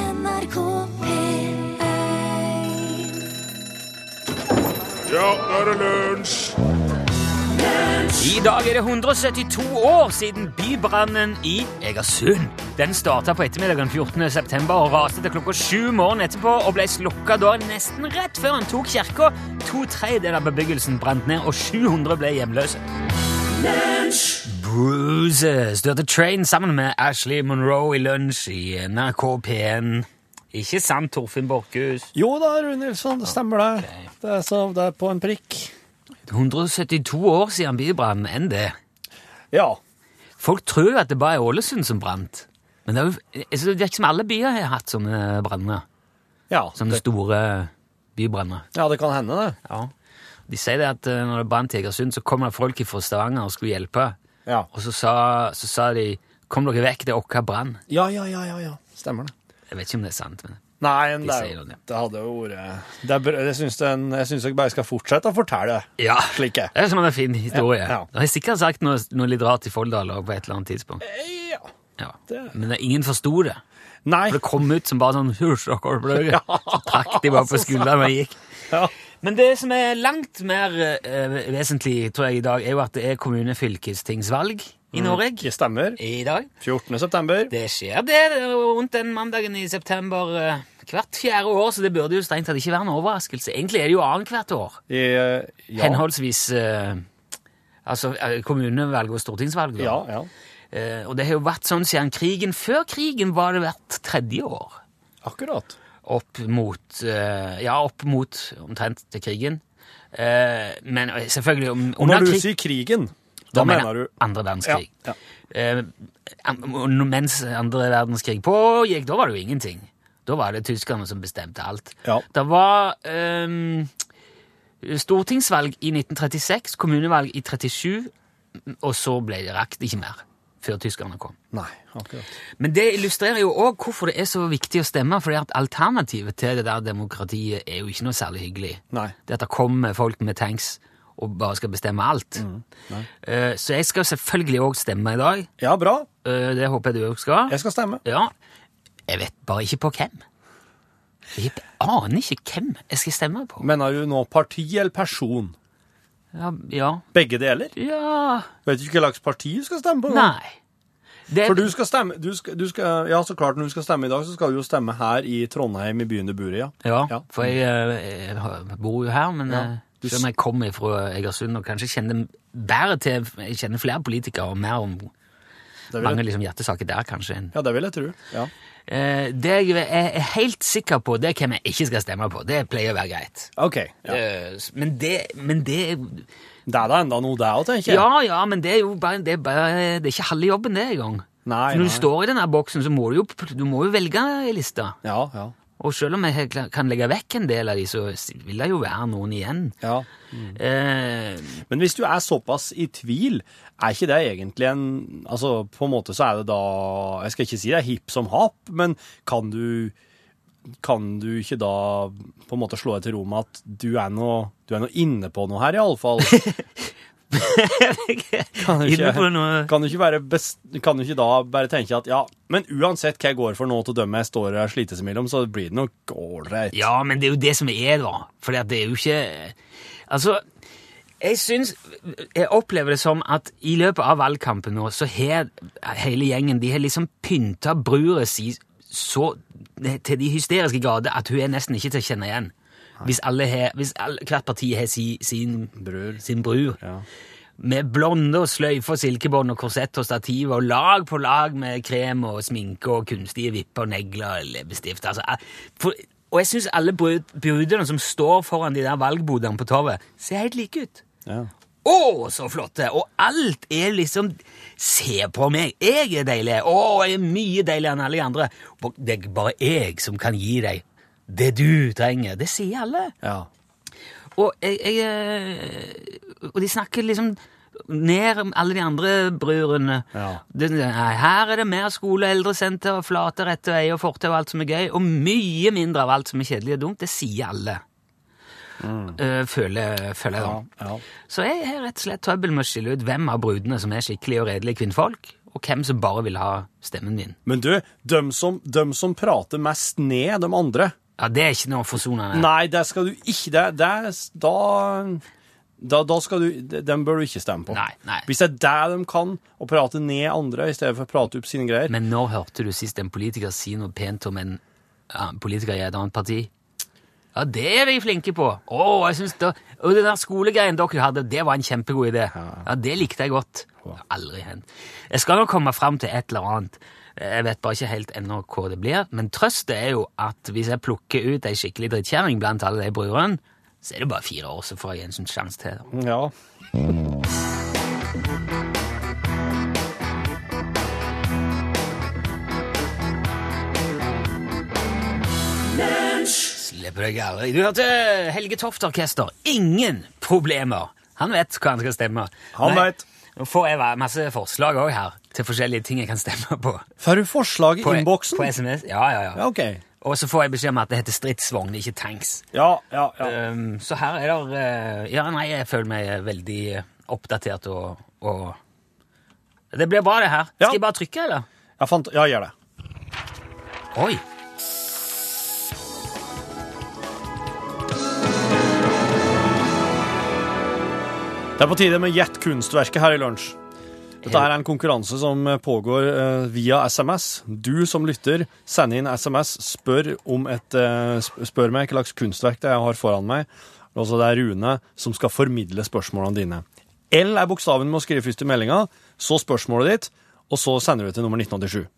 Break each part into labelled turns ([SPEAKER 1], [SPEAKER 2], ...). [SPEAKER 1] NRK P1
[SPEAKER 2] Ja, nå er det lunsj!
[SPEAKER 3] I dag er det 172 år siden bybrannen i Egersund. Den starta på ettermiddagen 14. september og raste til klokka sju morgenen etterpå og ble slukka da nesten rett før han tok kirka. To tredjedeler av bebyggelsen brant ned, og 700 ble hjemløse. Bruises Du hørte Train sammen med Ashley Monroe i lunsj i NRK P1. Ikke sant, Torfinn Borchhus?
[SPEAKER 4] Jo da, Rune Nilsson, det stemmer det. Det er, så, det er på en prikk.
[SPEAKER 3] 172 år siden bybrannen. Enn det.
[SPEAKER 4] Ja.
[SPEAKER 3] Folk tror jo at det bare er Ålesund som brant. Men det er jo, altså, det virker som alle byer har hatt sånne branner.
[SPEAKER 4] Ja,
[SPEAKER 3] Sånne
[SPEAKER 4] det,
[SPEAKER 3] store bybranner.
[SPEAKER 4] ja, det kan hende, det.
[SPEAKER 3] De sier det at eh, når det brant i Egersund, så kom det folk fra Stavanger og skulle hjelpe.
[SPEAKER 4] Ja.
[SPEAKER 3] Og så sa, så sa de 'kom dere vekk, det er vår brann'.
[SPEAKER 4] ja, ja, ja, ja, ja. Stemmer det.
[SPEAKER 3] Jeg vet ikke om det er sant. men...
[SPEAKER 4] Nei, men det,
[SPEAKER 3] sier
[SPEAKER 4] er
[SPEAKER 3] jo
[SPEAKER 4] jo-
[SPEAKER 3] det.
[SPEAKER 4] det hadde jo vært det er bra- Jeg syns den- jeg syns dere bare skal fortsette å fortelle det.
[SPEAKER 3] Ja,
[SPEAKER 4] Slike.
[SPEAKER 3] Det er som en fin historie.
[SPEAKER 4] Ja, ja.
[SPEAKER 3] Jeg har sikkert sagt noe, noe litt rart i Folldal også på et eller annet tidspunkt.
[SPEAKER 4] Eh, Ja.
[SPEAKER 3] Ja.
[SPEAKER 4] det-
[SPEAKER 3] Men ingen forsto det.
[SPEAKER 4] Nei.
[SPEAKER 3] For det kom ut som bare sånn Hysj, dere bløye.
[SPEAKER 4] Ja.
[SPEAKER 3] Så trakk de bare på skulderen og gikk.
[SPEAKER 4] Ja.
[SPEAKER 3] Men det som er langt mer eh, vesentlig tror jeg, i dag, er jo at det er kommune-fylkestingsvalg
[SPEAKER 4] Mm.
[SPEAKER 3] i Norge
[SPEAKER 4] Ikke stemmer.
[SPEAKER 3] i dag.
[SPEAKER 4] 14. september.
[SPEAKER 3] Det skjer det rundt den mandagen i september eh, hvert fjerde år, så det burde jo strengt tatt ikke være en overraskelse. Egentlig er det jo annethvert år.
[SPEAKER 4] I, eh, ja.
[SPEAKER 3] Henholdsvis eh, altså eh, kommunevalg og stortingsvalg. da.
[SPEAKER 4] ja, ja.
[SPEAKER 3] Eh, og det har jo vært sånn siden krigen. Før krigen var det hvert tredje år.
[SPEAKER 4] Akkurat.
[SPEAKER 3] opp mot eh, Ja, opp mot omtrent til krigen. Eh, men selvfølgelig om,
[SPEAKER 4] Og når
[SPEAKER 3] under
[SPEAKER 4] du
[SPEAKER 3] krig-
[SPEAKER 4] sier krigen, da mener du
[SPEAKER 3] andre verdenskrig.
[SPEAKER 4] Ja,
[SPEAKER 3] Eh, an- mens andre verdenskrig pågikk, da var det jo ingenting. Da var det tyskerne som bestemte alt.
[SPEAKER 4] Ja.
[SPEAKER 3] Det var ehm, stortingsvalg i 1936, kommunevalg i 37, og så ble det rakt ikke mer før tyskerne kom.
[SPEAKER 4] Nei, akkurat.
[SPEAKER 3] Men det illustrerer jo òg hvorfor det er så viktig å stemme, fordi at alternativet til det der demokratiet er jo ikke noe særlig hyggelig.
[SPEAKER 4] Nei.
[SPEAKER 3] Det at det kommer folk med tanks og bare skal bestemme alt.
[SPEAKER 4] Mm,
[SPEAKER 3] Eh, Så jeg skal selvfølgelig òg stemme i dag.
[SPEAKER 4] Ja, bra.
[SPEAKER 3] Eh, Det håper jeg du òg skal.
[SPEAKER 4] Jeg skal stemme.
[SPEAKER 3] Ja. Jeg vet bare ikke på hvem. Jeg aner ikke hvem jeg skal stemme på.
[SPEAKER 4] Mener du nå parti eller person?
[SPEAKER 3] Ja, ja.
[SPEAKER 4] Begge deler?
[SPEAKER 3] ja.
[SPEAKER 4] Vet du ikke hva slags parti du skal stemme på? nå?
[SPEAKER 3] Nei. Det,
[SPEAKER 4] For du skal stemme du skal, du skal, Ja, så klart når du skal stemme i dag, så skal du jo stemme her i Trondheim, i byen du bor i, ja.
[SPEAKER 3] Ja,
[SPEAKER 4] Ja.
[SPEAKER 3] for jeg, eh, jeg har- bor jo her, men eh,
[SPEAKER 4] Du
[SPEAKER 3] selv om jeg kommer fra Egersund og kanskje kjenner bedre til Jeg kjenner flere politikere og mer om
[SPEAKER 4] Det vil
[SPEAKER 3] mange
[SPEAKER 4] jeg,
[SPEAKER 3] liksom, hjertesaker der, kanskje. enn-
[SPEAKER 4] ja, det vil jeg tro. Ja.
[SPEAKER 3] Eh, det jeg er er helt sikker på, det er hvem jeg ikke skal stemme på. Det pleier å være greit.
[SPEAKER 4] OK. Ja.
[SPEAKER 3] Eh, s- Men det, men det
[SPEAKER 4] Det er da enda noe der òg, tenker jeg.
[SPEAKER 3] Ja, ja, men det er jo bare det er, bare, det er ikke halve jobben, det, engang.
[SPEAKER 4] Nei,
[SPEAKER 3] For Når du
[SPEAKER 4] nei.
[SPEAKER 3] står i denne boksen, så må du jo, p- du må jo velge i lista.
[SPEAKER 4] Ja, ja.
[SPEAKER 3] Og selv om jeg helt klart kan legge vekk en del av de, så s- vil det jo være noen igjen.
[SPEAKER 4] ja. Mm.
[SPEAKER 3] Eh,
[SPEAKER 4] Men hvis du er såpass i tvil, er ikke det egentlig en Altså, på en måte så er det da Jeg skal ikke si det er hipp som happ, men kan du kan du ikke da på en måte slå deg til ro med at du er nå du er nå inne på noe her, iallfall? Kan du
[SPEAKER 3] Inne på
[SPEAKER 4] ikke,
[SPEAKER 3] noe
[SPEAKER 4] kan du ikke, være best, kan du ikke da bare tenke at ja, men uansett hva jeg går for nå til å dømme jeg står og slites imellom, så blir det nok ålreit.
[SPEAKER 3] Ja, men det er jo det som er, da. For det er jo ikke Altså, jeg syns Jeg opplever det som at i løpet av valgkampen nå, så har hele gjengen De har liksom pynta bruret si så eh, til de hysteriske grader at hun er nesten ikke til å kjenne igjen. Hvis, alle har, hvis alle, hvert parti har si, sin
[SPEAKER 4] Bror.
[SPEAKER 3] Sin bror.
[SPEAKER 4] Ja.
[SPEAKER 3] Med blonde og sløyfe og silkebånd og korsett og stativ og lag på lag med krem og sminke og kunstige vipper, negler og leppestift. Altså, eh, for, og jeg syns alle brud- brudene som står foran de der valgbodene på torvet, ser helt like ut.
[SPEAKER 4] Ja.
[SPEAKER 3] Å, så flotte! Og alt er liksom Se på meg! Jeg er deilig! Å, jeg er mye deiligere enn alle de andre! Og Det er bare jeg som kan gi deg det du trenger. Det sier alle.
[SPEAKER 4] Ja.
[SPEAKER 3] Og, jeg, jeg, eh, og de snakker liksom ned om alle de andre brødrene.
[SPEAKER 4] Ja.
[SPEAKER 3] Det- nei, Her er det mer skole, eldresenter, og flate rette veier, fortau og alt som er gøy, og mye mindre av alt som er kjedelig og dumt. Det sier alle. Eh, føler, føler jeg
[SPEAKER 4] Mm.
[SPEAKER 3] da.
[SPEAKER 4] Ja. ja.
[SPEAKER 3] Så jeg har rett og slett trøbbel med å skille ut hvem av brudene som er skikkelig og redelige kvinnfolk, og hvem som bare vil ha stemmen din.
[SPEAKER 4] Men du, dem som, dem som prater mest ned de andre
[SPEAKER 3] Ja, Det er ikke noe forsonende.
[SPEAKER 4] Nei, det skal du ikke det, det, er- da, da, da skal du de- Dem bør du ikke stemme på.
[SPEAKER 3] Nei, nei.
[SPEAKER 4] Hvis det er det de kan, å prate ned andre i stedet for å prate opp sine greier
[SPEAKER 3] Men når hørte du sist en politiker si noe pent om en ja, politiker i et annet parti? Ja, det er de flinke på! Å, jeg synes det, og det der skolegreien dere hadde, det var en kjempegod idé. Ja, det likte jeg godt. Det har aldri hendt. Jeg skal nok komme fram til et eller annet. Jeg vet bare ikke helt ennå hva det blir, men trøstet er jo at hvis jeg plukker ut ei skikkelig drittkjerring blant alle de brødrene, så er det bare fire år, så får jeg en sånn sjanse til.
[SPEAKER 4] Ja.
[SPEAKER 3] Slipper deg aldri. Du hørte Helge Toft-orkester. Ingen problemer. Han vet hva han skal stemme.
[SPEAKER 4] Han
[SPEAKER 3] Nei,
[SPEAKER 4] vet.
[SPEAKER 3] Nå får jeg være- masse forslag også her til forskjellige ting jeg kan stemme på.
[SPEAKER 4] Får du forslag i
[SPEAKER 3] På,
[SPEAKER 4] innboksen?
[SPEAKER 3] på SMS. Ja, ja, ja.
[SPEAKER 4] Ja, OK.
[SPEAKER 3] Og så får jeg beskjed om at det heter stridsvogn, ikke tanks.
[SPEAKER 4] Ja, ja, ja.
[SPEAKER 3] Um, så her er det eh, Ja, nei, jeg føler meg eh, veldig eh, oppdatert og, og Det blir bra, det her.
[SPEAKER 4] Ja.
[SPEAKER 3] Skal jeg bare trykke, eller?
[SPEAKER 4] Jeg fant, ja, gjør det.
[SPEAKER 3] Oi!
[SPEAKER 4] Det er på tide med Gjett kunstverket her i lunsj. Dette her er en konkurranse som pågår eh, via SMS. Du som lytter, send inn SMS, spør, om et, eh, sp- spør meg hva slags kunstverk det er jeg har foran meg. Og så det er Rune som skal formidle spørsmålene dine. L er bokstaven med å skrive først i meldinga, så spørsmålet ditt, og så sender du til nummer 1987.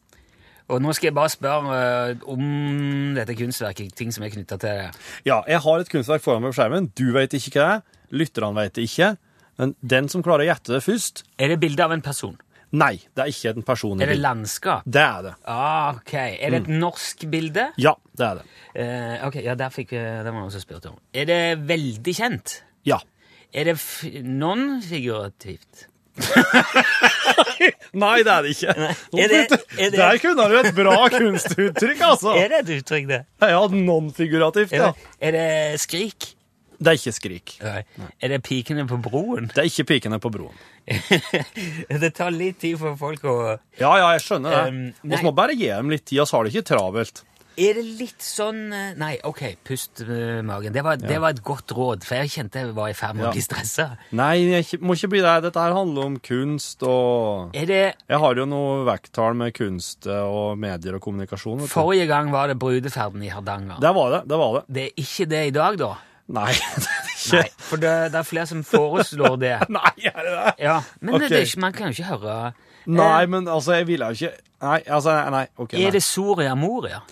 [SPEAKER 3] Og nå skal jeg bare spørre eh, om dette kunstverket, ting som er knytta til det.
[SPEAKER 4] Ja, jeg har et kunstverk foran meg på skjermen. Du vet ikke hva det er. Lytterne vet det ikke. Men den som klarer å gjette det først
[SPEAKER 3] Er det bilde av en person?
[SPEAKER 4] Nei, det er ikke en person. i
[SPEAKER 3] Er det
[SPEAKER 4] bildet.
[SPEAKER 3] landskap?
[SPEAKER 4] Det er det.
[SPEAKER 3] Ah, ok. Er det et norsk bilde?
[SPEAKER 4] Ja, det er det.
[SPEAKER 3] Eh, ok, ja, der fikk jeg, det var noen som spurte om. Er det veldig kjent?
[SPEAKER 4] Ja.
[SPEAKER 3] Er det f non-figurativt?
[SPEAKER 4] Nei, det er det ikke.
[SPEAKER 3] Er det- er det-
[SPEAKER 4] Der kunne du et bra kunstuttrykk, altså!
[SPEAKER 3] Er det et uttrykk, det?
[SPEAKER 4] Ja, non-figurativt,
[SPEAKER 3] Er
[SPEAKER 4] ja.
[SPEAKER 3] det, er det skrik?
[SPEAKER 4] Det er ikke skrik.
[SPEAKER 3] Nei. Er det pikene på broen?
[SPEAKER 4] Det er ikke pikene på broen.
[SPEAKER 3] det tar litt tid for folk å
[SPEAKER 4] Ja, ja, jeg skjønner det.
[SPEAKER 3] Um,
[SPEAKER 4] Vi
[SPEAKER 3] nei.
[SPEAKER 4] må bare gi dem litt tid, så har det ikke travelt.
[SPEAKER 3] Er det litt sånn eh, Nei, ok, pust eh, magen. Det var, det var et godt råd, for jeg kjente jeg var i ferd med
[SPEAKER 4] Ja.
[SPEAKER 3] å bli stressa.
[SPEAKER 4] Nei, jeg ikke- må ikke bli det. Dette her handler om kunst og
[SPEAKER 3] Er det
[SPEAKER 4] Jeg har jo noe vekttall med kunst eh, og medier og kommunikasjon. Vet du.
[SPEAKER 3] Forrige gang var det brudeferden i Hardanger.
[SPEAKER 4] Det var det. Det var det.
[SPEAKER 3] Det er ikke det i dag, da?
[SPEAKER 4] Nei, det er det ikke.
[SPEAKER 3] Nei, for det, det er flere som foreslår det.
[SPEAKER 4] Nei, er det det?
[SPEAKER 3] Ja, men det-
[SPEAKER 4] Ok.
[SPEAKER 3] det er ikke, man kan jo ikke høre eh,
[SPEAKER 4] Nei, men altså, jeg ville jo ikke Nei, altså, nei, nei. ok,
[SPEAKER 3] Er
[SPEAKER 4] nei.
[SPEAKER 3] det Soria Moria?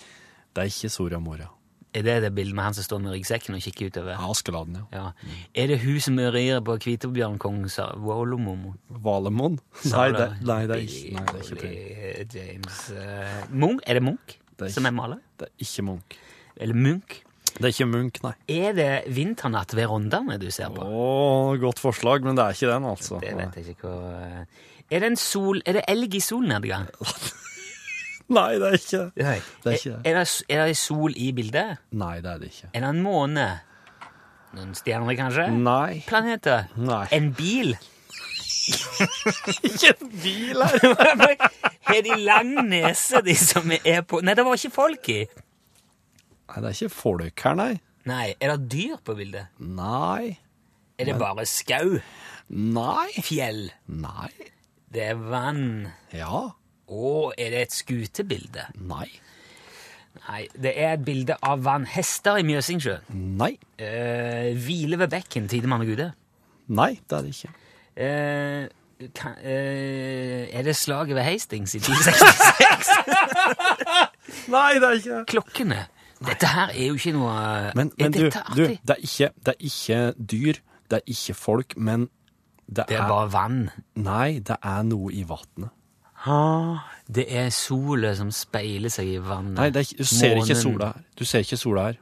[SPEAKER 4] Det er ikke Soria Moria.
[SPEAKER 3] Er det det bildet med han som står med ryggsekken og kikker utover?
[SPEAKER 4] Ja, Askeladden, ja.
[SPEAKER 3] Ja. Er det hun som rir på Kvitebjørnkongen sa Wolomomo?
[SPEAKER 4] Valemon? Nei, det, nei, det er ikke, nei, det er ikke Prince.
[SPEAKER 3] Billy James eh, Munch? Er det Munch
[SPEAKER 4] er ikke-
[SPEAKER 3] som er maler?
[SPEAKER 4] Det er ikke Munch.
[SPEAKER 3] Eller Munch?
[SPEAKER 4] Det er ikke Munch, nei.
[SPEAKER 3] Er det Vinternatt ved Rondane du ser på?
[SPEAKER 4] Å, godt forslag, men det er ikke den, altså.
[SPEAKER 3] Det vet jeg ikke hva eh, Er det en sol Er det elg i solnedgang?
[SPEAKER 4] Nei, det er ikke det.
[SPEAKER 3] Nei.
[SPEAKER 4] Det er ikke det.
[SPEAKER 3] Er, det, er det sol i bildet?
[SPEAKER 4] Nei, det er det ikke.
[SPEAKER 3] Er det en måne? Noen stjerner, kanskje?
[SPEAKER 4] Nei.
[SPEAKER 3] Planeter?
[SPEAKER 4] Nei.
[SPEAKER 3] En bil?
[SPEAKER 4] Ikke en bil her!
[SPEAKER 3] Har de lang nese, de som er på Nei, det var ikke folk i!
[SPEAKER 4] Nei, det er ikke folk her, nei.
[SPEAKER 3] Nei, er det dyr på bildet?
[SPEAKER 4] Nei.
[SPEAKER 3] Er det bare skau?
[SPEAKER 4] Nei.
[SPEAKER 3] Fjell?
[SPEAKER 4] Nei.
[SPEAKER 3] Det er vann?
[SPEAKER 4] Ja.
[SPEAKER 3] Å, er det et skutebilde?
[SPEAKER 4] Nei.
[SPEAKER 3] Nei, det er et bilde av vannhester i Mjøsingsjøen.
[SPEAKER 4] Nei.
[SPEAKER 3] Eh, hvile ved bekken, tidemann og gude.
[SPEAKER 4] Nei, det er det ikke.
[SPEAKER 3] Eh, kan, eh, er det slaget ved Hastings i 1066?
[SPEAKER 4] Nei, det er ikke det.
[SPEAKER 3] Klokkene? Dette her er jo ikke noe eh,
[SPEAKER 4] Men,
[SPEAKER 3] Er
[SPEAKER 4] men du,
[SPEAKER 3] dette
[SPEAKER 4] du
[SPEAKER 3] artig?
[SPEAKER 4] det, er ikke, det er ikke dyr, det er ikke folk, men det
[SPEAKER 3] det
[SPEAKER 4] er,
[SPEAKER 3] er bare vann.
[SPEAKER 4] Nei, det er noe i vannet.
[SPEAKER 3] Det er sola som speiler seg i vannet.
[SPEAKER 4] Nei, det er, ikke- du ser ikke
[SPEAKER 3] Månen.
[SPEAKER 4] sola her. Du ser ikke sola her.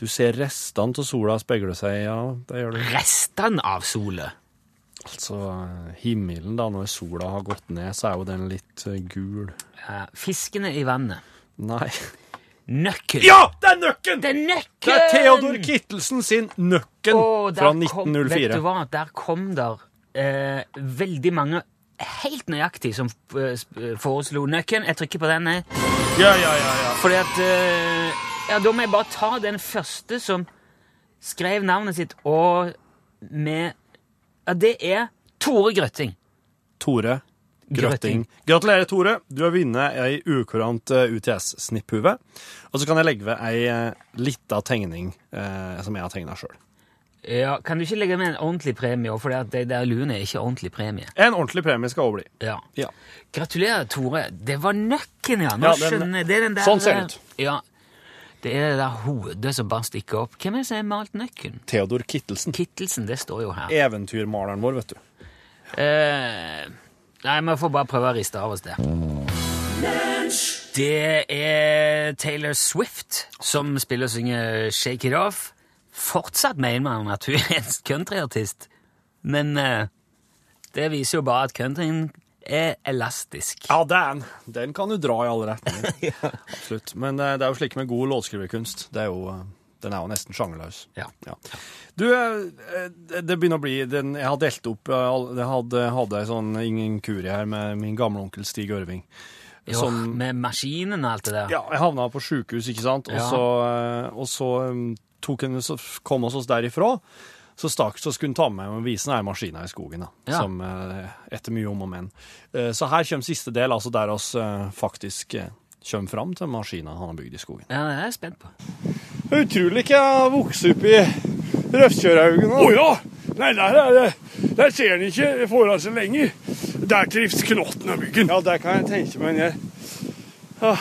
[SPEAKER 4] Du ser restene av sola speile seg, ja, det gjør du.
[SPEAKER 3] Restene av sola.
[SPEAKER 4] Altså, himmelen da, når sola har gått ned, så er jo den litt eh, gul.
[SPEAKER 3] Eh, Fiskene i vannet.
[SPEAKER 4] Nei.
[SPEAKER 3] Nøkkel.
[SPEAKER 4] Ja, det er nøkken!
[SPEAKER 3] Det er nøkkel!
[SPEAKER 4] Det er Theodor Kittelsen sin Nøkken
[SPEAKER 3] Å, der
[SPEAKER 4] fra
[SPEAKER 3] kom- Vet du
[SPEAKER 4] 1904.
[SPEAKER 3] hva, der kom der eh, veldig mange helt nøyaktig som eh, sp- eh, foreslo nøkken. Jeg trykker på den, jeg.
[SPEAKER 2] Ja, ja, ja, ja.
[SPEAKER 3] Fordi at eh, Ja, da må jeg bare ta den første som skrev navnet sitt, og med Ja, det er Tore Grøtting.
[SPEAKER 4] Tore Grøtting. Gratulerer, Tore. Du har vunnet ei ukurant eh, UTS-snipphuve. Og så kan jeg legge ved ei eh, lita tegning eh, som jeg har tegna sjøl.
[SPEAKER 3] Ja, Kan du ikke legge med en ordentlig premie? For de der luene er ikke ordentlig premie.
[SPEAKER 4] En ordentlig premie skal også bli.
[SPEAKER 3] Ja.
[SPEAKER 4] Ja.
[SPEAKER 3] Gratulerer, Tore. Det var nøkken, ja. Nå
[SPEAKER 4] Ja, den-
[SPEAKER 3] skjønner jeg. Det er den der, eh,
[SPEAKER 4] Sånn ser det ut.
[SPEAKER 3] Ja. Det er det der hodet som bare stikker opp. Hvem er det som har malt nøkken?
[SPEAKER 4] Theodor Kittelsen.
[SPEAKER 3] Kittelsen, det står jo her.
[SPEAKER 4] Eventyrmaleren vår, vet du.
[SPEAKER 3] Eh, nei, vi får bare prøve å riste av oss det. Det er Taylor Swift som spiller og synger Shake It Off. Fortsatt mener man at hun er en countryartist, men eh, det viser jo bare at countryen er elastisk.
[SPEAKER 4] Ja, den, den kan du dra i alle retninger. Absolutt. Men eh, det er jo slik med god låtskriverkunst. Det er jo, eh, den er jo nesten sjangerløs.
[SPEAKER 3] Ja.
[SPEAKER 4] Ja. Du, eh, eh, det begynner å bli den, Jeg har delt opp eh, all- Jeg hadde, hadde en sånn ingen kurie her med min gamle onkel Stig Ørving.
[SPEAKER 3] Jo,
[SPEAKER 4] Som-
[SPEAKER 3] med maskinen og alt det der.
[SPEAKER 4] Ja, jeg havna på sjukehus, ikke sant? Og
[SPEAKER 3] Ja.
[SPEAKER 4] så, eh, og så eh, tok en, så kom oss oss derifra. Så stakk, så skulle han ta med meg og vise den maskina i skogen, da,
[SPEAKER 3] Ja.
[SPEAKER 4] som eh, etter mye om og men. Eh, Så her kommer siste del, altså der oss eh, faktisk eh, kommer fram til maskina han har bygd i skogen.
[SPEAKER 3] Ja, det er jeg spent på.
[SPEAKER 4] Utrolig ikke jeg vokste opp i Røftkjørhaugen.
[SPEAKER 2] Å ja! Nei, der, er det. der ser en ikke foran seg lenger. Der trives knotten av myggen.
[SPEAKER 4] Ja, det kan jeg tenke meg ned.
[SPEAKER 1] Ah.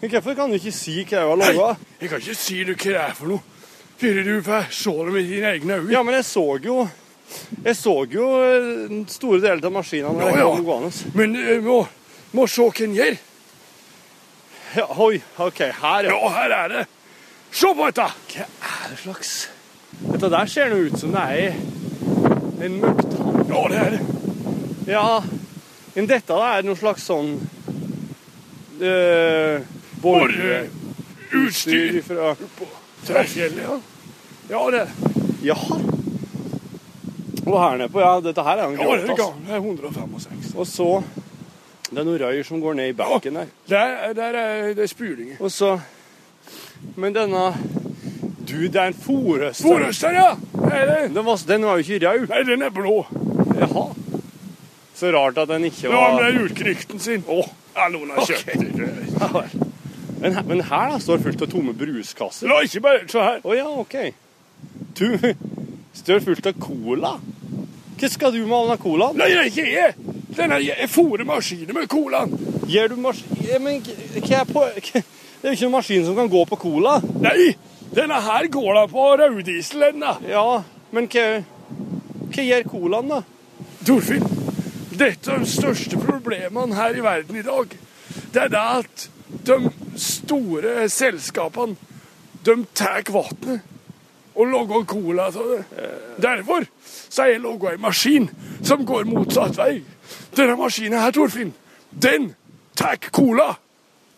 [SPEAKER 4] Hvorfor kan du ikke si hva jeg har laga?
[SPEAKER 2] Jeg kan ikke si du hva det er for noe. Før du får se det med dine egne øyne.
[SPEAKER 1] Ja, men jeg så jo Jeg så jo eh, store deler av maskinene når
[SPEAKER 2] Ja,
[SPEAKER 1] jeg
[SPEAKER 2] ja.
[SPEAKER 1] kom gående.
[SPEAKER 2] Men eh, må, må se hva en gjør.
[SPEAKER 1] Ja, oi, OK, her, ja.
[SPEAKER 2] Ja, her er det. Se på dette!
[SPEAKER 1] Hva slags Dette der ser nå ut som det er i en møkta.
[SPEAKER 2] Ja, det er det.
[SPEAKER 1] Ja, men dette da er noe slags sånn øh, Boreutstyr
[SPEAKER 2] Utstyr.
[SPEAKER 1] fra
[SPEAKER 2] Tverrfjellet, ja. Ja, det er det.
[SPEAKER 1] Jaha. Og her nede på, ja, dette her er en
[SPEAKER 2] Ja, det er
[SPEAKER 1] gråtass.
[SPEAKER 2] gammel. Det er 165.
[SPEAKER 1] Og så Det er noen røyr som går ned i bekken her.
[SPEAKER 2] Der, der er det er spulinger.
[SPEAKER 1] Og så Men denne Du, det er en fòrhøster.
[SPEAKER 2] Forøster, ja! Det er det.
[SPEAKER 1] Den var, den var jo ikke rød.
[SPEAKER 2] Nei, den er blå.
[SPEAKER 1] Jaha. Så rart at den ikke
[SPEAKER 2] Det var med
[SPEAKER 1] var
[SPEAKER 2] den juleknekten sin. Å, ja, noen har kjøpt den.
[SPEAKER 1] Men her, men her da, står det fullt av tomme bruskasser.
[SPEAKER 2] La ikke bare se her.
[SPEAKER 1] Å ja, OK. Du står fullt av cola. Hva skal du med all den colaen?
[SPEAKER 2] Nei, det er ikke jeg. Den er jeg fôrer maskinen med colaen.
[SPEAKER 1] Gjør du mas... Ja, Men k- hva er på k- Det er jo ikke noen maskin som kan gå på cola.
[SPEAKER 2] Nei, denne her går da på røddiesel, den da.
[SPEAKER 1] Ja, men hva Hva gjør colaen, da?
[SPEAKER 2] Torfinn, dette er de største problemene her i verden i dag. Det er det at de store selskapene, de tar vannet og lager cola av det. Derfor så har jeg laget en maskin som går motsatt vei. Denne maskinen her, Torfinn, den tar cola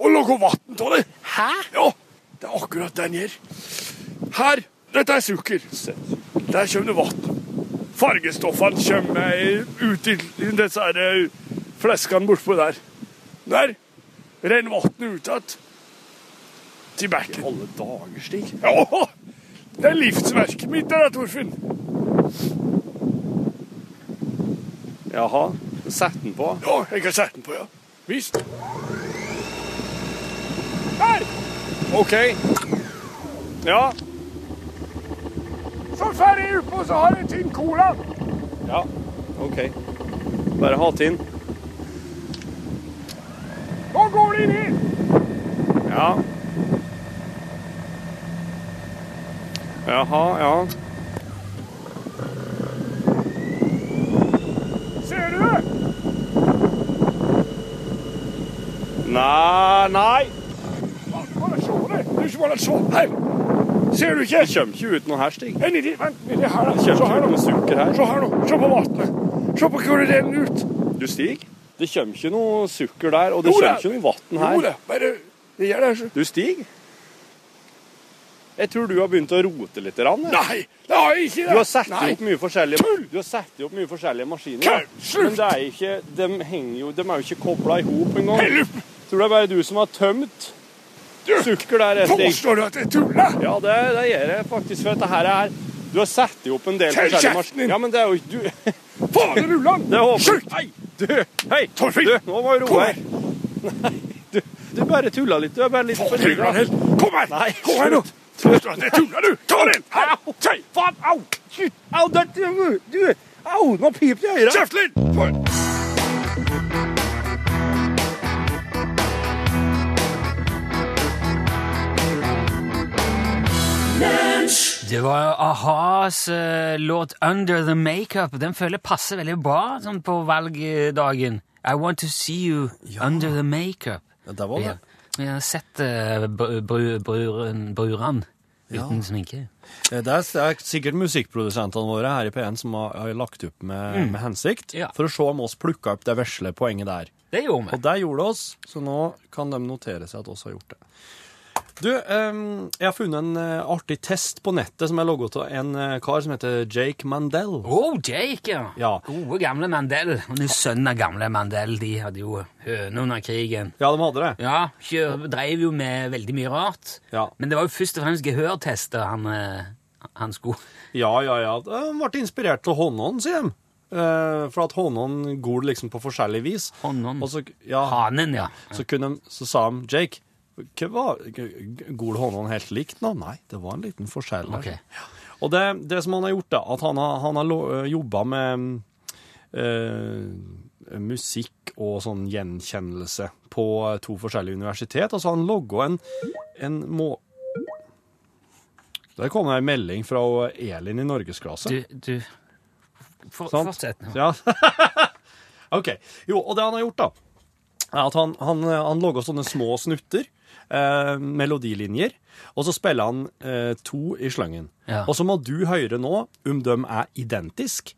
[SPEAKER 2] og lager vann av det. Hæ? Ja, det er akkurat det den gjør. Her, dette er sukker. Der kommer det vann fargestoffene kommer ut i disse her fleskene bortpå der. Der renner vannet ut igjen. Til bekken. Alle dager, Stig. Ja! Det er livsverket mitt, det der, Torfinn.
[SPEAKER 1] Jaha. Sett den på.
[SPEAKER 2] Ja, jeg kan sette den på, ja. Visst. Her!
[SPEAKER 1] OK. Ja.
[SPEAKER 2] Så fer jeg utpå, så har jeg en tynn cola.
[SPEAKER 1] Ja, OK. Bare hat inn.
[SPEAKER 2] Nå går det inn i.
[SPEAKER 1] Ja. Jaha, ja.
[SPEAKER 2] Ser du det?
[SPEAKER 1] Nei, nei.
[SPEAKER 2] Ja, Bare se det. Du skal bare se. Her. Ser du ikke?
[SPEAKER 1] Det kommer ikke ut noe her, Stig.
[SPEAKER 2] Nei, nedi, vent, nedi her, da.
[SPEAKER 1] Det
[SPEAKER 2] Se her,
[SPEAKER 1] kommer ikke ut
[SPEAKER 2] da.
[SPEAKER 1] noe sukker her.
[SPEAKER 2] Se her nå, se på vannet. Se på hvor det renner ut.
[SPEAKER 1] Du, Stig. Det kommer ikke noe sukker der, og det
[SPEAKER 2] Jo da.
[SPEAKER 1] kommer ikke noe vann
[SPEAKER 2] Jo
[SPEAKER 1] her.
[SPEAKER 2] da, bare det gjør det. altså.
[SPEAKER 1] Du, Stig. Jeg tror du har begynt å rote litt. Rann, jeg.
[SPEAKER 2] Nei, det har jeg ikke! det.
[SPEAKER 1] Du har satt
[SPEAKER 2] Nei.
[SPEAKER 1] opp mye forskjellige
[SPEAKER 2] Tull!
[SPEAKER 1] Du har satt opp mye forskjellige maskiner.
[SPEAKER 2] Kødd! Slutt!
[SPEAKER 1] Men det er ikke, de, henger jo, de er jo ikke kobla i hop engang.
[SPEAKER 2] Eller
[SPEAKER 1] Tror det er bare du som har tømt sukker der etter.
[SPEAKER 2] påstår du at jeg tuller?
[SPEAKER 1] Ja, det, det gjør jeg faktisk. For dette her er Du har satt opp en del
[SPEAKER 2] Tøll
[SPEAKER 1] forskjellige
[SPEAKER 2] kjeften din!
[SPEAKER 1] maskiner. Ja, men det er jo ikke du
[SPEAKER 2] Fader ullan!
[SPEAKER 1] Det er håpløst.
[SPEAKER 2] Slutt!
[SPEAKER 1] Hei! Du! Hei!
[SPEAKER 2] Torfinn!
[SPEAKER 1] Du, nå må du
[SPEAKER 2] Kom
[SPEAKER 1] roe
[SPEAKER 2] her!
[SPEAKER 1] her. Du, du bare tulla litt. Du er bare litt
[SPEAKER 2] Fader
[SPEAKER 1] forvirra.
[SPEAKER 2] ullan helt! Kom her!
[SPEAKER 1] Nei,
[SPEAKER 2] Kom her nå! Påstår at jeg tuller, du! Ta den! Her! Sei!
[SPEAKER 1] Faen! Au! Slutt! Au, der, du, du! Au, nå piper det i øret.
[SPEAKER 2] Kjeften din! For-
[SPEAKER 3] Det var a-has eh, låt 'Under the Makeup'. Den føler jeg passer veldig bra sånn på valgdagen. I want to see you under the makeup.
[SPEAKER 4] Ja, det var det.
[SPEAKER 3] Ja. Jeg har sett uh, bruran uten sminke.
[SPEAKER 4] Eh, Det er, det er sikkert musikkprodusentene våre her i P1 som har, har lagt opp med, med hensikt,
[SPEAKER 3] Mm. Ja.
[SPEAKER 4] for å se om oss plukka opp det vesle poenget der.
[SPEAKER 3] Det gjorde
[SPEAKER 4] Og
[SPEAKER 3] vi.
[SPEAKER 4] det gjorde oss, så nå kan de notere seg at oss har gjort det. Du, ehm, jeg har funnet en eh, artig test på nettet som er logget av en eh, kar som heter Jake Mandel.
[SPEAKER 3] Oh, Jake, ja.
[SPEAKER 4] Ja.
[SPEAKER 3] Gode, gamle Mandel. Og nå sønnen av gamle Mandel. De hadde jo høne under krigen.
[SPEAKER 4] Ja, de hadde det.
[SPEAKER 3] Ja, kjør, dreiv jo med veldig mye rart.
[SPEAKER 4] Ja.
[SPEAKER 3] Men det var jo først og fremst gehørtester han, eh, han skulle
[SPEAKER 4] Ja, ja, ja. De ble inspirert til håndhånd, sier de. Eh, for at håndhånd går liksom på forskjellig vis.
[SPEAKER 3] Håndhånd.
[SPEAKER 4] Og så, ja,
[SPEAKER 3] Hanen, ja.
[SPEAKER 4] Så, kunne, de- så sa de, Jake, hva var g- g- Gol Håndhånd helt likt nå? Nei, det var en liten forskjell. der.
[SPEAKER 3] Ok.
[SPEAKER 4] Ja. Og det, det som han har gjort, da, at han har, han har lo- jobba med mm, eh, musikk og sånn gjenkjennelse på eh, to forskjellige universitet, og så har han logga en, en må... Der kom det en melding fra Elin i norgesklasse.
[SPEAKER 3] Du, du for,
[SPEAKER 4] Sant?
[SPEAKER 3] Fortsett nå.
[SPEAKER 4] Ja. ok. Jo, og det han har gjort, da, er at han, han, eh, han lager sånne små snutter, eh, melodilinjer, og så spiller han eh, to i slangen.
[SPEAKER 3] Ja.
[SPEAKER 4] Og så må du høre nå om de er identiske,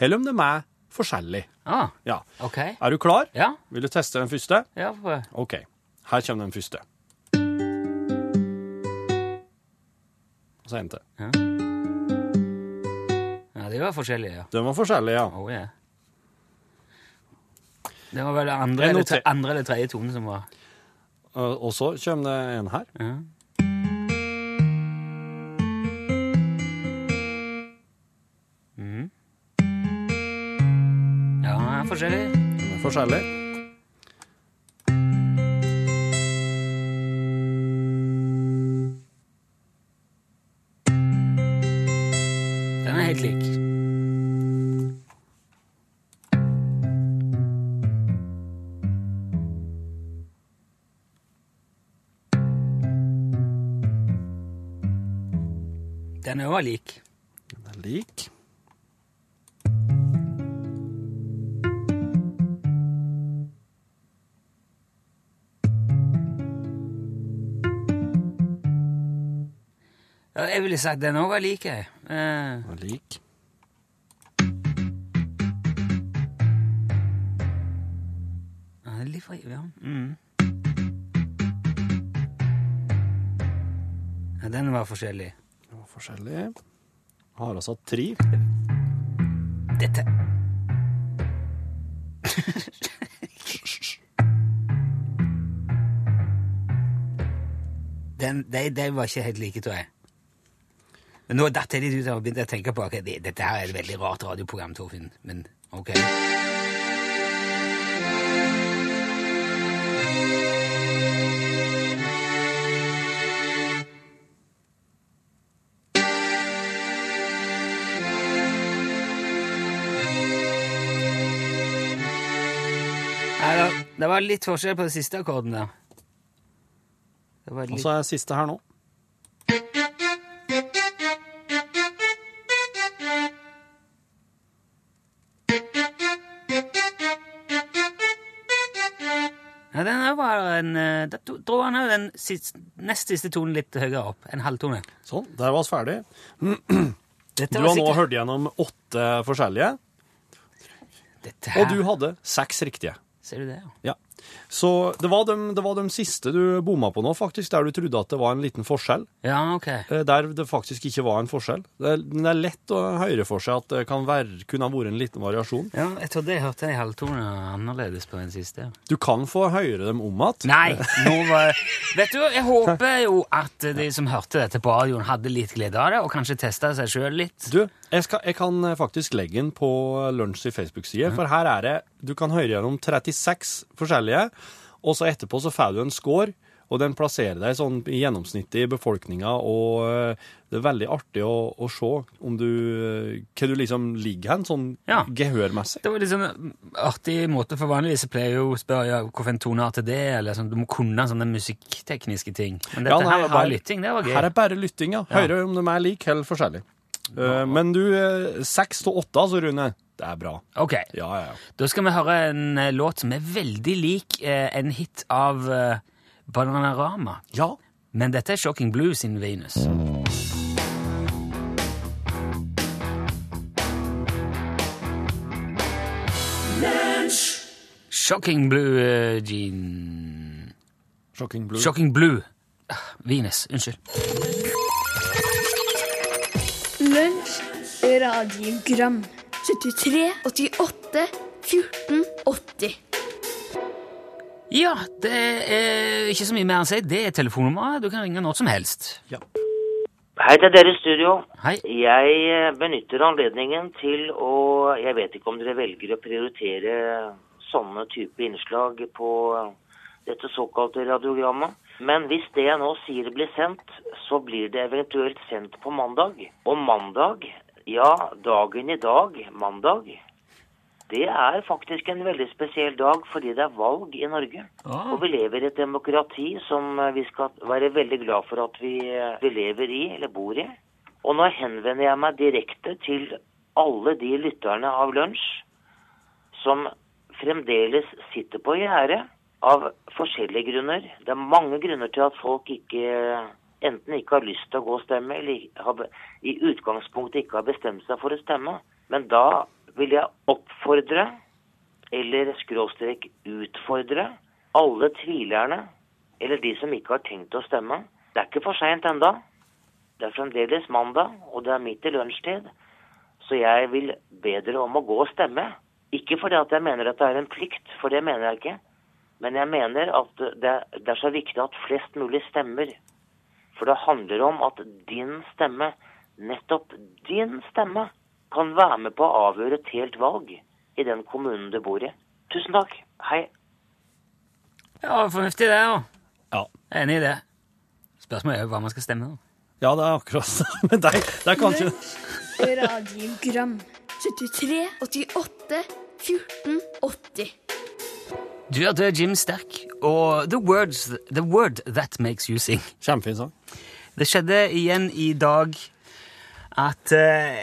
[SPEAKER 4] eller om de er forskjellige.
[SPEAKER 3] Ah,
[SPEAKER 4] Ja.
[SPEAKER 3] OK.
[SPEAKER 4] Er du klar?
[SPEAKER 3] Ja.
[SPEAKER 4] Vil du teste den første?
[SPEAKER 3] ja for,
[SPEAKER 4] Ok. Her kommer den første. Og så en til.
[SPEAKER 3] ja, de var forskjellige, ja.
[SPEAKER 4] De var forskjellige, ja.
[SPEAKER 3] Oh, yeah. Det var vel andre
[SPEAKER 4] Jeg
[SPEAKER 3] eller,
[SPEAKER 4] noter-
[SPEAKER 3] tre, andre eller tredje tone som var
[SPEAKER 4] Og og så kommer det en her.
[SPEAKER 3] ja. Mhm. Ja, ja, forskjellig.
[SPEAKER 4] Den er forskjellig.
[SPEAKER 3] Den er helt lik. Den er òg lik.
[SPEAKER 4] Den er lik.
[SPEAKER 3] Ja, Jeg ville sagt den òg var lik, jeg. Eh,
[SPEAKER 4] Den er lik.
[SPEAKER 3] ja, det er litt fri, ja. Mm. ja. Den var forskjellig.
[SPEAKER 4] Det var forskjellig. Har altså hatt tre.
[SPEAKER 3] Dette den, de, de var ikke helt like, tror jeg. Men nå datt jeg litt ut av og begynte å tenke på ok, det, dette her er et veldig rart radioprogram, Torfinn. Men ok. Nei, det, det var litt forskjell på den siste akkorden der. Det var
[SPEAKER 4] Og
[SPEAKER 3] litt,
[SPEAKER 4] så er siste her nå.
[SPEAKER 3] ja, den her var en, eh, Da to- dro han jo den siste, nest siste tonen litt høyere opp. En halvtone.
[SPEAKER 4] Sånn, der var vi ferdig.
[SPEAKER 3] Dette
[SPEAKER 4] Du
[SPEAKER 3] var
[SPEAKER 4] har nå
[SPEAKER 3] sikkert-
[SPEAKER 4] hørt gjennom åtte forskjellige,
[SPEAKER 3] Dette her,
[SPEAKER 4] og du hadde seks riktige.
[SPEAKER 3] Ser du det, ja?
[SPEAKER 4] Ja. Så det var, de, det var de siste du bomma på nå, faktisk, der du trodde at det var en liten forskjell.
[SPEAKER 3] Ja, ok.
[SPEAKER 4] Eh, Der det faktisk ikke var en forskjell. Det er, men det er lett å høre for seg at det kan være, kunne ha vært en liten variasjon.
[SPEAKER 3] Ja, jeg trodde jeg hørte en halvtone annerledes på den siste.
[SPEAKER 4] Du kan få høre dem om igjen.
[SPEAKER 3] Nei, nå var Vet du, jeg håper jo at de som hørte dette på radioen, hadde litt glede av det, og kanskje testa seg sjøl litt.
[SPEAKER 4] Du, jeg, skal, jeg kan eh, faktisk legge den på eh, Lunsj i Facebook-side, for her er det Du kan høre gjennom 36 forskjellige, og så etterpå så får du en score, og den plasserer deg sånn i gjennomsnittet i befolkninga, og eh, det er veldig artig å, å se om du eh, Hva du liksom ligger hen, sånn
[SPEAKER 3] Ja.
[SPEAKER 4] gehørmessig.
[SPEAKER 3] Det var liksom en artig måte, for vanligvis så pleier jeg jo å spørre ja, hvorfor en toneart er det, eller sånn, du må kunne sånne musikktekniske ting. Men dette
[SPEAKER 4] Ja, nei,
[SPEAKER 3] her
[SPEAKER 4] det
[SPEAKER 3] var
[SPEAKER 4] var-
[SPEAKER 3] bare lytting, det var gøy.
[SPEAKER 4] Her er bare lytting, ja. Høre om de er like eller forskjellige. Eh, Men du, eh, seks av åtte, altså, Rune. Det er bra.
[SPEAKER 3] Ok,
[SPEAKER 4] Ja, ja, ja.
[SPEAKER 3] da skal vi høre en eh, låt som er veldig lik eh, en hit av eh, Bananarama.
[SPEAKER 4] Ja,
[SPEAKER 3] Men dette er Shocking Blue sin Venus. Shocking Blue eh, Jean
[SPEAKER 4] Shocking blue.
[SPEAKER 3] Shocking Blue. Ah, Venus. Unnskyld.
[SPEAKER 5] Lunsj, radiogram 73, 88, 14, 80
[SPEAKER 3] Ja, det er ikke så mye mer å si. Det er telefonnummeret. Du kan ringe når som helst.
[SPEAKER 6] Hei til dere i studio.
[SPEAKER 3] Hei.
[SPEAKER 6] Jeg eh, benytter anledningen til å Jeg vet ikke om dere velger å prioritere sånne type innslag på dette såkalte radiogrammet. Men hvis det jeg nå sier blir sendt, så blir det eventuelt sendt på mandag. Og mandag, ja, dagen i dag, mandag, det er faktisk en veldig spesiell dag fordi det er valg i Norge. Og vi lever i et demokrati som eh, vi skal være veldig glad for at vi, eh, vi lever i, eller bor i. Og nå henvender jeg meg direkte til alle de lytterne av lunsj som fremdeles sitter på gjerdet av forskjellige grunner. Det er mange grunner til at folk ikke enten ikke har lyst til å gå og stemme, eller har, be- i utgangspunktet ikke har bestemt seg for å stemme. Men da vil jeg oppfordre, eller skråstrek utfordre, alle tvilerne, eller de som ikke har tenkt å stemme. Det er ikke for seint enda. Det er fremdeles mandag, og det er midt i lunsjtid. Så jeg vil be dere om å gå og stemme. Ikke fordi at jeg mener at det er en plikt, for det mener jeg ikke. Men jeg mener at det, det er så viktig at flest mulig stemmer. For det handler om at din stemme, nettopp din stemme, kan være med på å avgjøre et helt valg i den kommunen du bor i. Tusen takk. Hei.
[SPEAKER 3] Ja, fornuftig det, ja.
[SPEAKER 4] Ja.
[SPEAKER 3] Jeg er Enig i det. Spørsmålet er jo hva man skal stemme. da.
[SPEAKER 4] ja, det er akkurat det. Men det er, det er kanskje
[SPEAKER 5] Radiogram 73, 88, 14, 80
[SPEAKER 3] Du hørte Jim Sterk og the, words, the Word That Makes You Sing.
[SPEAKER 4] Kjempefin sang.
[SPEAKER 3] Det skjedde igjen i dag at eh,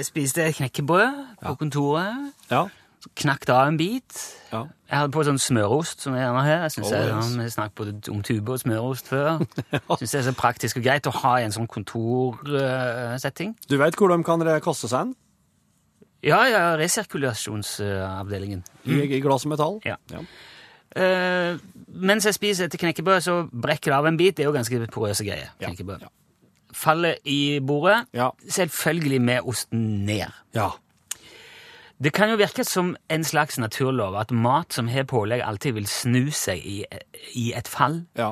[SPEAKER 3] jeg spiste knekkebrød på kontoret.
[SPEAKER 4] Ja.
[SPEAKER 3] Så knakk det av en bit.
[SPEAKER 4] Ja.
[SPEAKER 3] Jeg hadde på sånn smørost som jeg gjerne har. Jeg synes
[SPEAKER 4] Oh,
[SPEAKER 3] jeg,
[SPEAKER 4] yes.
[SPEAKER 3] Vi snakket både om tube og smørost før. Syns det er så praktisk og greit å ha i en sånn kontorsetting.
[SPEAKER 4] Du veit hvor de kan re- kaste seg en?
[SPEAKER 3] ja, ja, resirkulasjonsavdelingen.
[SPEAKER 4] I, i glass metall?
[SPEAKER 3] Mm. Ja. Eh, mens jeg spiser etter knekkebrød, så brekker det av en bit. Det er jo ganske porøse greier. knekkebrød.
[SPEAKER 4] ja.
[SPEAKER 3] Faller i bordet,
[SPEAKER 4] Ja.
[SPEAKER 3] selvfølgelig med osten ned.
[SPEAKER 4] Ja.
[SPEAKER 3] Det kan jo virke som en slags naturlov at mat som har pålegg, alltid vil snu seg i, i et fall
[SPEAKER 4] Ja.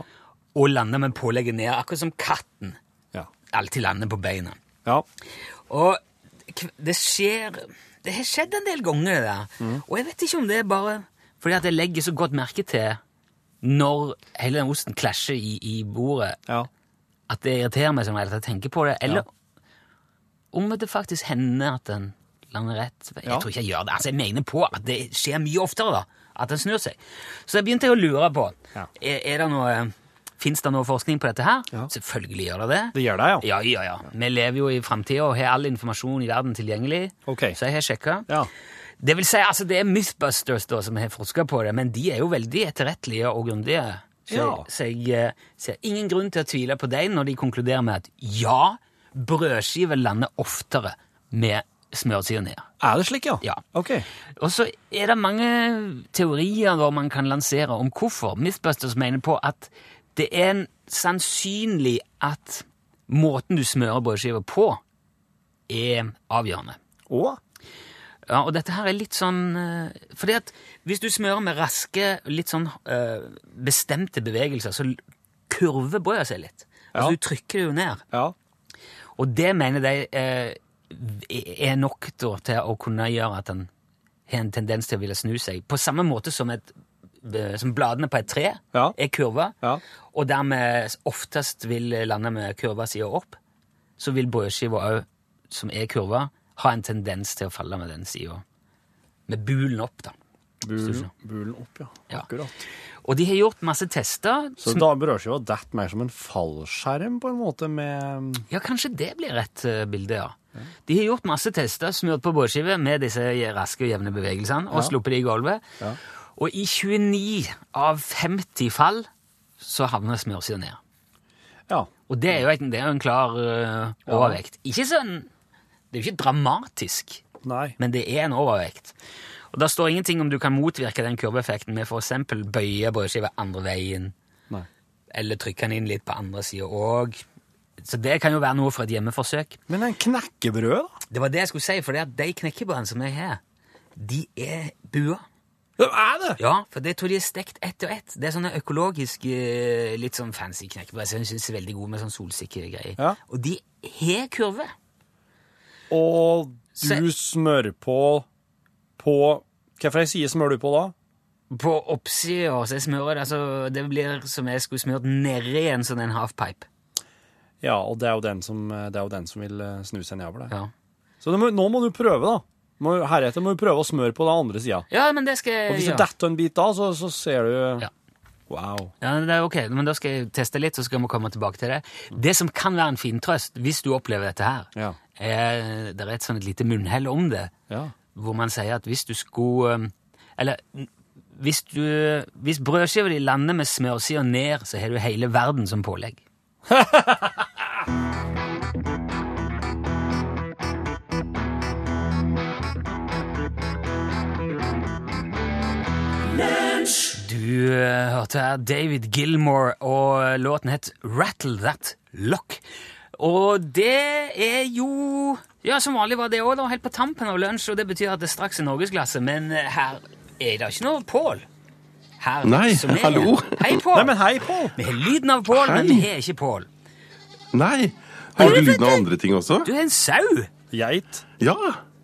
[SPEAKER 3] og lande med pålegget ned, akkurat som katten
[SPEAKER 4] Ja.
[SPEAKER 3] alltid lander på beina.
[SPEAKER 4] ja.
[SPEAKER 3] Og kv- det skjer Det har skjedd en del ganger, det der. Og jeg vet ikke om det er bare fordi at jeg legger så godt merke til når hele den osten klasjer i, i bordet,
[SPEAKER 4] ja.
[SPEAKER 3] at det irriterer meg som regel at jeg tenker på det. Eller om det faktisk hender at den lander rett. Jeg
[SPEAKER 4] Ja.
[SPEAKER 3] tror ikke jeg gjør det. Altså, jeg mener på at det skjer mye oftere, da. At den snur seg. Så jeg begynte å lure på
[SPEAKER 4] Ja.
[SPEAKER 3] er, er det noe, Fins det noe forskning på dette her?
[SPEAKER 4] Ja.
[SPEAKER 3] Selvfølgelig gjør det det.
[SPEAKER 4] Det gjør det,
[SPEAKER 3] Ja,
[SPEAKER 4] ja.
[SPEAKER 3] ja, ja. Vi lever jo i framtida og har all informasjon i verden tilgjengelig.
[SPEAKER 4] Ok.
[SPEAKER 3] Så jeg har sjekka.
[SPEAKER 4] Ja.
[SPEAKER 3] Det vil si, altså, det er Mythbusters da, som har forska på det, men de er jo veldig etterrettelige og grundige. Så,
[SPEAKER 4] Ja.
[SPEAKER 3] jeg- så jeg eh, ser ingen grunn til å tvile på dem når de konkluderer med at ja, brødskiver lander oftere med smørtida ned.
[SPEAKER 4] Er det slik, ja?
[SPEAKER 3] Ja.
[SPEAKER 4] Ok.
[SPEAKER 3] Og så er det mange teorier da man kan lansere om hvorfor. Mythbusters mener på at det er en- sannsynlig at måten du smører brødskiver på, er avgjørende.
[SPEAKER 4] Og?
[SPEAKER 3] Ja, og dette her er litt sånn eh, Fordi at hvis du smører med raske, litt sånn eh, bestemte bevegelser, så l- kurver brødet seg litt.
[SPEAKER 4] Ja.
[SPEAKER 3] Altså, du trykker det jo ned.
[SPEAKER 4] Ja.
[SPEAKER 3] Og det mener de eh, er nok da, til å kunne gjøre at den har en tendens til å ville snu seg. På samme måte som, et, eh, som bladene på et tre
[SPEAKER 4] Ja.
[SPEAKER 3] er kurva,
[SPEAKER 4] Ja.
[SPEAKER 3] og dermed oftest vil lande med kurva sida opp, så vil brødskiva òg, som er kurva, ha en tendens til å falle med den sida. Med bulen opp, da.
[SPEAKER 4] Bulen, bulen opp, ja.
[SPEAKER 3] Ja.
[SPEAKER 4] Akkurat.
[SPEAKER 3] Og de har gjort masse tester.
[SPEAKER 4] Så da berører seg jo dett mer som en fallskjerm, på en måte, med
[SPEAKER 3] Ja, kanskje det blir et eh, bilde, ja. De har gjort masse tester, smurt på båtskive med disse raske og jevne bevegelsene, og sluppet de i gulvet. Og i 29 av 50 fall så havner smørsida ned.
[SPEAKER 4] Ja.
[SPEAKER 3] Og det er jo, et, det er jo en klar eh, overvekt. Ikke sånn Det er jo ikke dramatisk,
[SPEAKER 4] Nei.
[SPEAKER 3] men det er en overvekt. Og det står ingenting om du kan motvirke den kurveeffekten med f.eks. bøye brødskiva andre veien,
[SPEAKER 4] Nei.
[SPEAKER 3] eller trykke den inn litt på andre sida òg. Så det kan jo være noe for et hjemmeforsøk.
[SPEAKER 4] Men den knekkebrødet, da?
[SPEAKER 3] Det var det jeg skulle si, for de knekkebrødene som jeg har, de er bua.
[SPEAKER 4] Det er det!
[SPEAKER 3] Ja, for det tror jeg de er stekt ett og ett. Det er sånne økologiske, litt sånn fancy knekkebrød som jeg synes er veldig gode med sånn solsikker greier.
[SPEAKER 4] Ja.
[SPEAKER 3] Og de har kurve.
[SPEAKER 4] Og du
[SPEAKER 3] Se-
[SPEAKER 4] smører på på Hvilken side smører du på da?
[SPEAKER 3] På oppsida så jeg smører det, altså det blir som jeg skulle smørt nedi en sånn en halfpipe.
[SPEAKER 4] Ja, og det er jo den som, det er jo den som vil eh, snu seg nedover der.
[SPEAKER 3] Ja.
[SPEAKER 4] Så det må, nå må du prøve, da. Må, heretter må du prøve å smøre på den andre sida.
[SPEAKER 3] ja, men det skal
[SPEAKER 4] Og
[SPEAKER 3] jeg
[SPEAKER 4] hvis det
[SPEAKER 3] gjøre.
[SPEAKER 4] detter en bit da, så, så ser du
[SPEAKER 3] Ja.
[SPEAKER 4] Wow.
[SPEAKER 3] Ja, det er ok, men da skal jeg teste litt, så skal vi komme tilbake til det. Det som kan være en fin trøst, hvis du opplever dette her,
[SPEAKER 4] Ja.
[SPEAKER 3] er, det er et sånn et lite munnhell om det,
[SPEAKER 4] Ja.
[SPEAKER 3] hvor man sier at hvis du skulle um, Eller mm, hvis, du, hvis brødskiva di lander med smørsida ned, så har du hele verden som pålegg. Du eh, hørte her David Gilmore, og eh, låten het Rattle That Lock. Og det er jo Ja, som vanlig var det òg, da. Helt på tampen av lunsj, og det betyr at det straks er norgesklasse. Men eh, her er det ikke noe Pål. Her
[SPEAKER 7] Nei,
[SPEAKER 3] som er.
[SPEAKER 7] hallo.
[SPEAKER 3] Hei, Pål.
[SPEAKER 4] Nei, men hei, Pål!
[SPEAKER 3] Vi har lyden av Pål, men
[SPEAKER 7] Hei.
[SPEAKER 3] vi har ikke Pål.
[SPEAKER 7] Nei! Hører du lyden av andre ting også?
[SPEAKER 3] Du er en sau!
[SPEAKER 4] Geit.
[SPEAKER 7] Ja!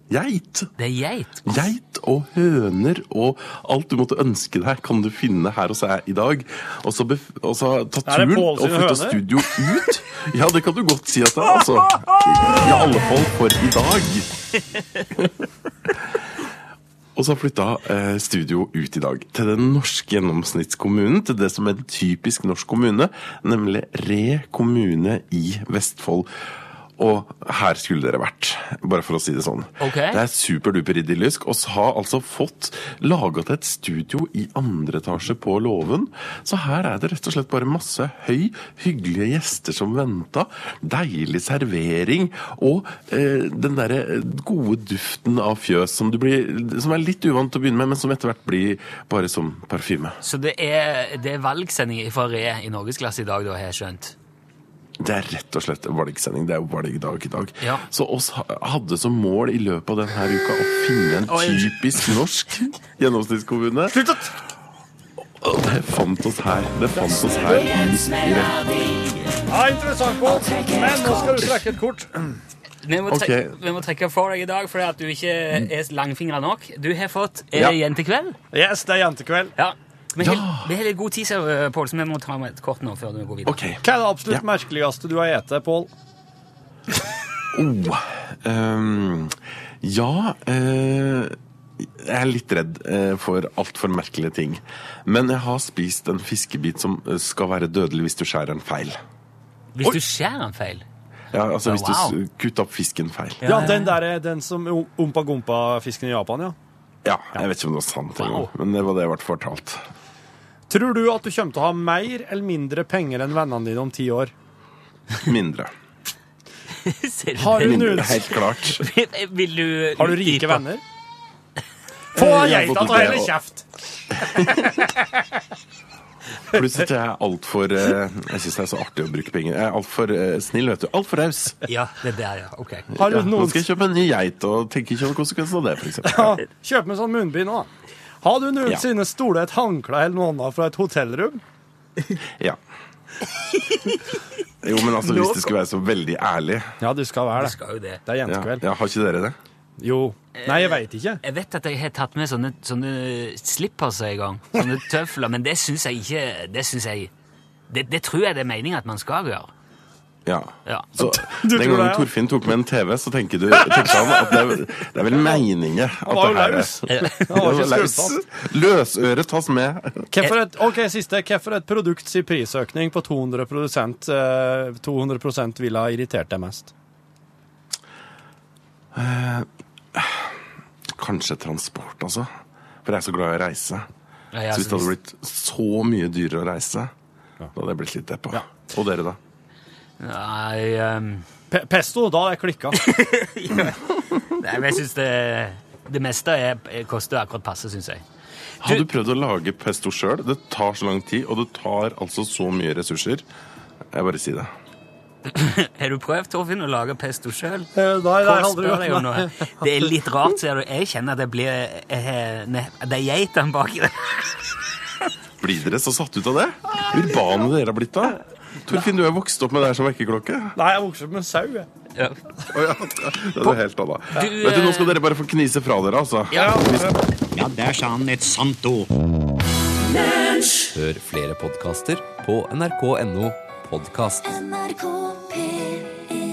[SPEAKER 7] Geit.
[SPEAKER 3] Det er geit.
[SPEAKER 7] Geit og høner og alt du måtte ønske deg, kan du finne her hos deg i dag. Og så, bef og så ta
[SPEAKER 4] Er det
[SPEAKER 7] turen
[SPEAKER 4] Pål
[SPEAKER 7] og
[SPEAKER 4] sine
[SPEAKER 7] flytte
[SPEAKER 4] høner?
[SPEAKER 7] studio ut. Ja, det kan du godt si at det er, altså. I alle fall for i dag. Og så flytta eh, studio ut i dag til den norske gjennomsnittskommunen. Til det som er en typisk norsk kommune, nemlig Re kommune i Vestfold. Og her skulle dere vært, bare for å si det sånn.
[SPEAKER 3] Ok.
[SPEAKER 7] Det er superduper idyllisk. Og så har altså fått laget et studio i andre etasje på låven. Så her er det rett og slett bare masse høy, hyggelige gjester som venta. Deilig servering. Og eh, den derre gode duften av fjøs som, du blir, som er litt uvant til å begynne med, men som etter hvert blir bare som parfyme.
[SPEAKER 3] Så det er, det er valgsending fra Re i norgesklasse i dag, da, har jeg skjønt.
[SPEAKER 7] Det er rett og slett en valgsending. Det er jo valgdag i dag.
[SPEAKER 3] Ja.
[SPEAKER 7] Så oss ha- hadde som mål i løpet av denne uka å finne en
[SPEAKER 3] Oi.
[SPEAKER 7] typisk norsk gjennomsnittskommune.
[SPEAKER 4] Slutt å
[SPEAKER 7] Og det fant oss her. Det fant oss her i Re.
[SPEAKER 4] Ja, interessant, Pål. Men nå skal du trekke et kort.
[SPEAKER 3] Vi må, trekke,
[SPEAKER 7] Ok. Mm.
[SPEAKER 3] vi må trekke for deg i dag fordi at du ikke er langfingra nok. Du har fått Er
[SPEAKER 7] Ja.
[SPEAKER 3] det jentekveld?
[SPEAKER 4] Yes, det er jentekveld.
[SPEAKER 3] Ja. Vi har,
[SPEAKER 7] Ja.
[SPEAKER 3] vi har litt god tid, så, eh, Pål, så vi må ta med et kort nå før du går videre.
[SPEAKER 7] Ok.
[SPEAKER 4] Hva er det absolutt
[SPEAKER 7] Ja.
[SPEAKER 4] merkeligste du har spist, Pål?
[SPEAKER 7] Oh, ehm, ja eh, Jeg er litt redd eh, for altfor merkelige ting. Men jeg har spist en fiskebit som eh, skal være dødelig hvis du skjærer den feil.
[SPEAKER 3] Hvis du skjærer en feil
[SPEAKER 7] Ja, altså hvis du
[SPEAKER 3] wow.
[SPEAKER 7] s- kutter opp fisken feil. Ja.
[SPEAKER 4] Ja, den der er den som ompa-gompa-fisken i Japan, ja.
[SPEAKER 7] Jeg vet ikke om det var sant,
[SPEAKER 3] Wow.
[SPEAKER 7] engang, men det var det jeg ble fortalt.
[SPEAKER 4] Tror du at du kommer til å ha mer eller mindre penger enn vennene dine om ti år?
[SPEAKER 7] Mindre.
[SPEAKER 3] Ser
[SPEAKER 4] Har du
[SPEAKER 3] det?
[SPEAKER 4] nudes?
[SPEAKER 7] Helt klart.
[SPEAKER 3] Vil du
[SPEAKER 4] Har du
[SPEAKER 3] utdype?
[SPEAKER 4] rike venner? Få
[SPEAKER 7] Jeg har
[SPEAKER 4] geita
[SPEAKER 7] fått
[SPEAKER 4] til å hele
[SPEAKER 7] det, og-
[SPEAKER 4] kjeft!
[SPEAKER 7] Pluss at jeg er altfor eh, Jeg syns det er så artig å bruke penger. Jeg er altfor eh, snill, vet du. Altfor raus.
[SPEAKER 3] Ja, det der, ja. Ok.
[SPEAKER 4] Har du
[SPEAKER 7] Ja, nå
[SPEAKER 4] noen
[SPEAKER 7] skal jeg kjøpe en ny geit og tenker ikke over konsekvensen av det, f.eks.
[SPEAKER 4] Ja, Kjøp med sånn munnbind òg. Har du noensinne stolet et håndkle eller noe annet fra et hotellrom?
[SPEAKER 7] Ja. Jo, men altså, hvis det skulle være så veldig ærlig
[SPEAKER 4] Ja, du skal være
[SPEAKER 3] Du skal jo det.
[SPEAKER 4] Det er
[SPEAKER 7] ja,
[SPEAKER 4] jentekveld.
[SPEAKER 7] ja, Har ikke dere det?
[SPEAKER 4] Jo. Nei, jeg veit ikke.
[SPEAKER 3] Jeg vet at jeg har tatt med sånne, sånne slippers en gang. Sånne tøfler. Men det syns jeg ikke Det synes jeg det, det tror jeg det er meningen at man skal gjøre.
[SPEAKER 7] Ja.
[SPEAKER 3] Ja.
[SPEAKER 7] Så
[SPEAKER 4] Du
[SPEAKER 7] Den
[SPEAKER 4] tror det,
[SPEAKER 7] gangen
[SPEAKER 4] ja.
[SPEAKER 7] Torfinn tok med en TV, så tenker, du, tenker han at det er, det er vel meningen at
[SPEAKER 4] var jo
[SPEAKER 7] det her er-
[SPEAKER 4] løs.
[SPEAKER 7] Det
[SPEAKER 4] var
[SPEAKER 7] var
[SPEAKER 4] ikke
[SPEAKER 7] løs.
[SPEAKER 4] skrudd
[SPEAKER 7] Løsøre tas med.
[SPEAKER 4] Hvorfor et, ok, siste. Hvorfor et produkt sin prisøkning på 200 eh, 200 ville ha irritert deg mest?
[SPEAKER 7] Kanskje transport, altså. For jeg er så glad i å reise.
[SPEAKER 3] Ja, ja,
[SPEAKER 7] Så hvis
[SPEAKER 3] så
[SPEAKER 7] det hadde blitt så mye dyrere å reise, da hadde jeg blitt litt deppa. Og dere, da?
[SPEAKER 3] Nei, ehm,
[SPEAKER 4] Pe pesto, da hadde jeg klikka.
[SPEAKER 3] nei men jeg syns det Det meste er, er, koster akkurat passe, syns jeg.
[SPEAKER 7] Har du prøvd å lage pesto sjøl? Det tar så lang tid, og det tar altså så mye ressurser. Jeg bare sier det.
[SPEAKER 3] Har du prøvd, Torfinn, å lage pesto sjøl?
[SPEAKER 4] Eh, Nei, det har jeg aldri gjort. nei.
[SPEAKER 3] Det er litt rart, ser du. Jeg kjenner at jeg blir eh, ne, Det er geitene baki der.
[SPEAKER 7] Blir dere så satt ut av det? Urbane dere har blitt da? Torfinn, du er vokst opp med det her som vekkerklokke.
[SPEAKER 4] Nei, jeg vokste opp med sau. jeg.
[SPEAKER 3] Ja.
[SPEAKER 7] Å ja, det er noe helt annet.
[SPEAKER 3] Du,
[SPEAKER 7] Vet du, Nå skal
[SPEAKER 3] eh,
[SPEAKER 7] dere bare få knise fra dere, altså.
[SPEAKER 8] Ja, der sa han et sant ord.
[SPEAKER 9] Hør flere podkaster på nrk.no podkast.
[SPEAKER 5] NRK P1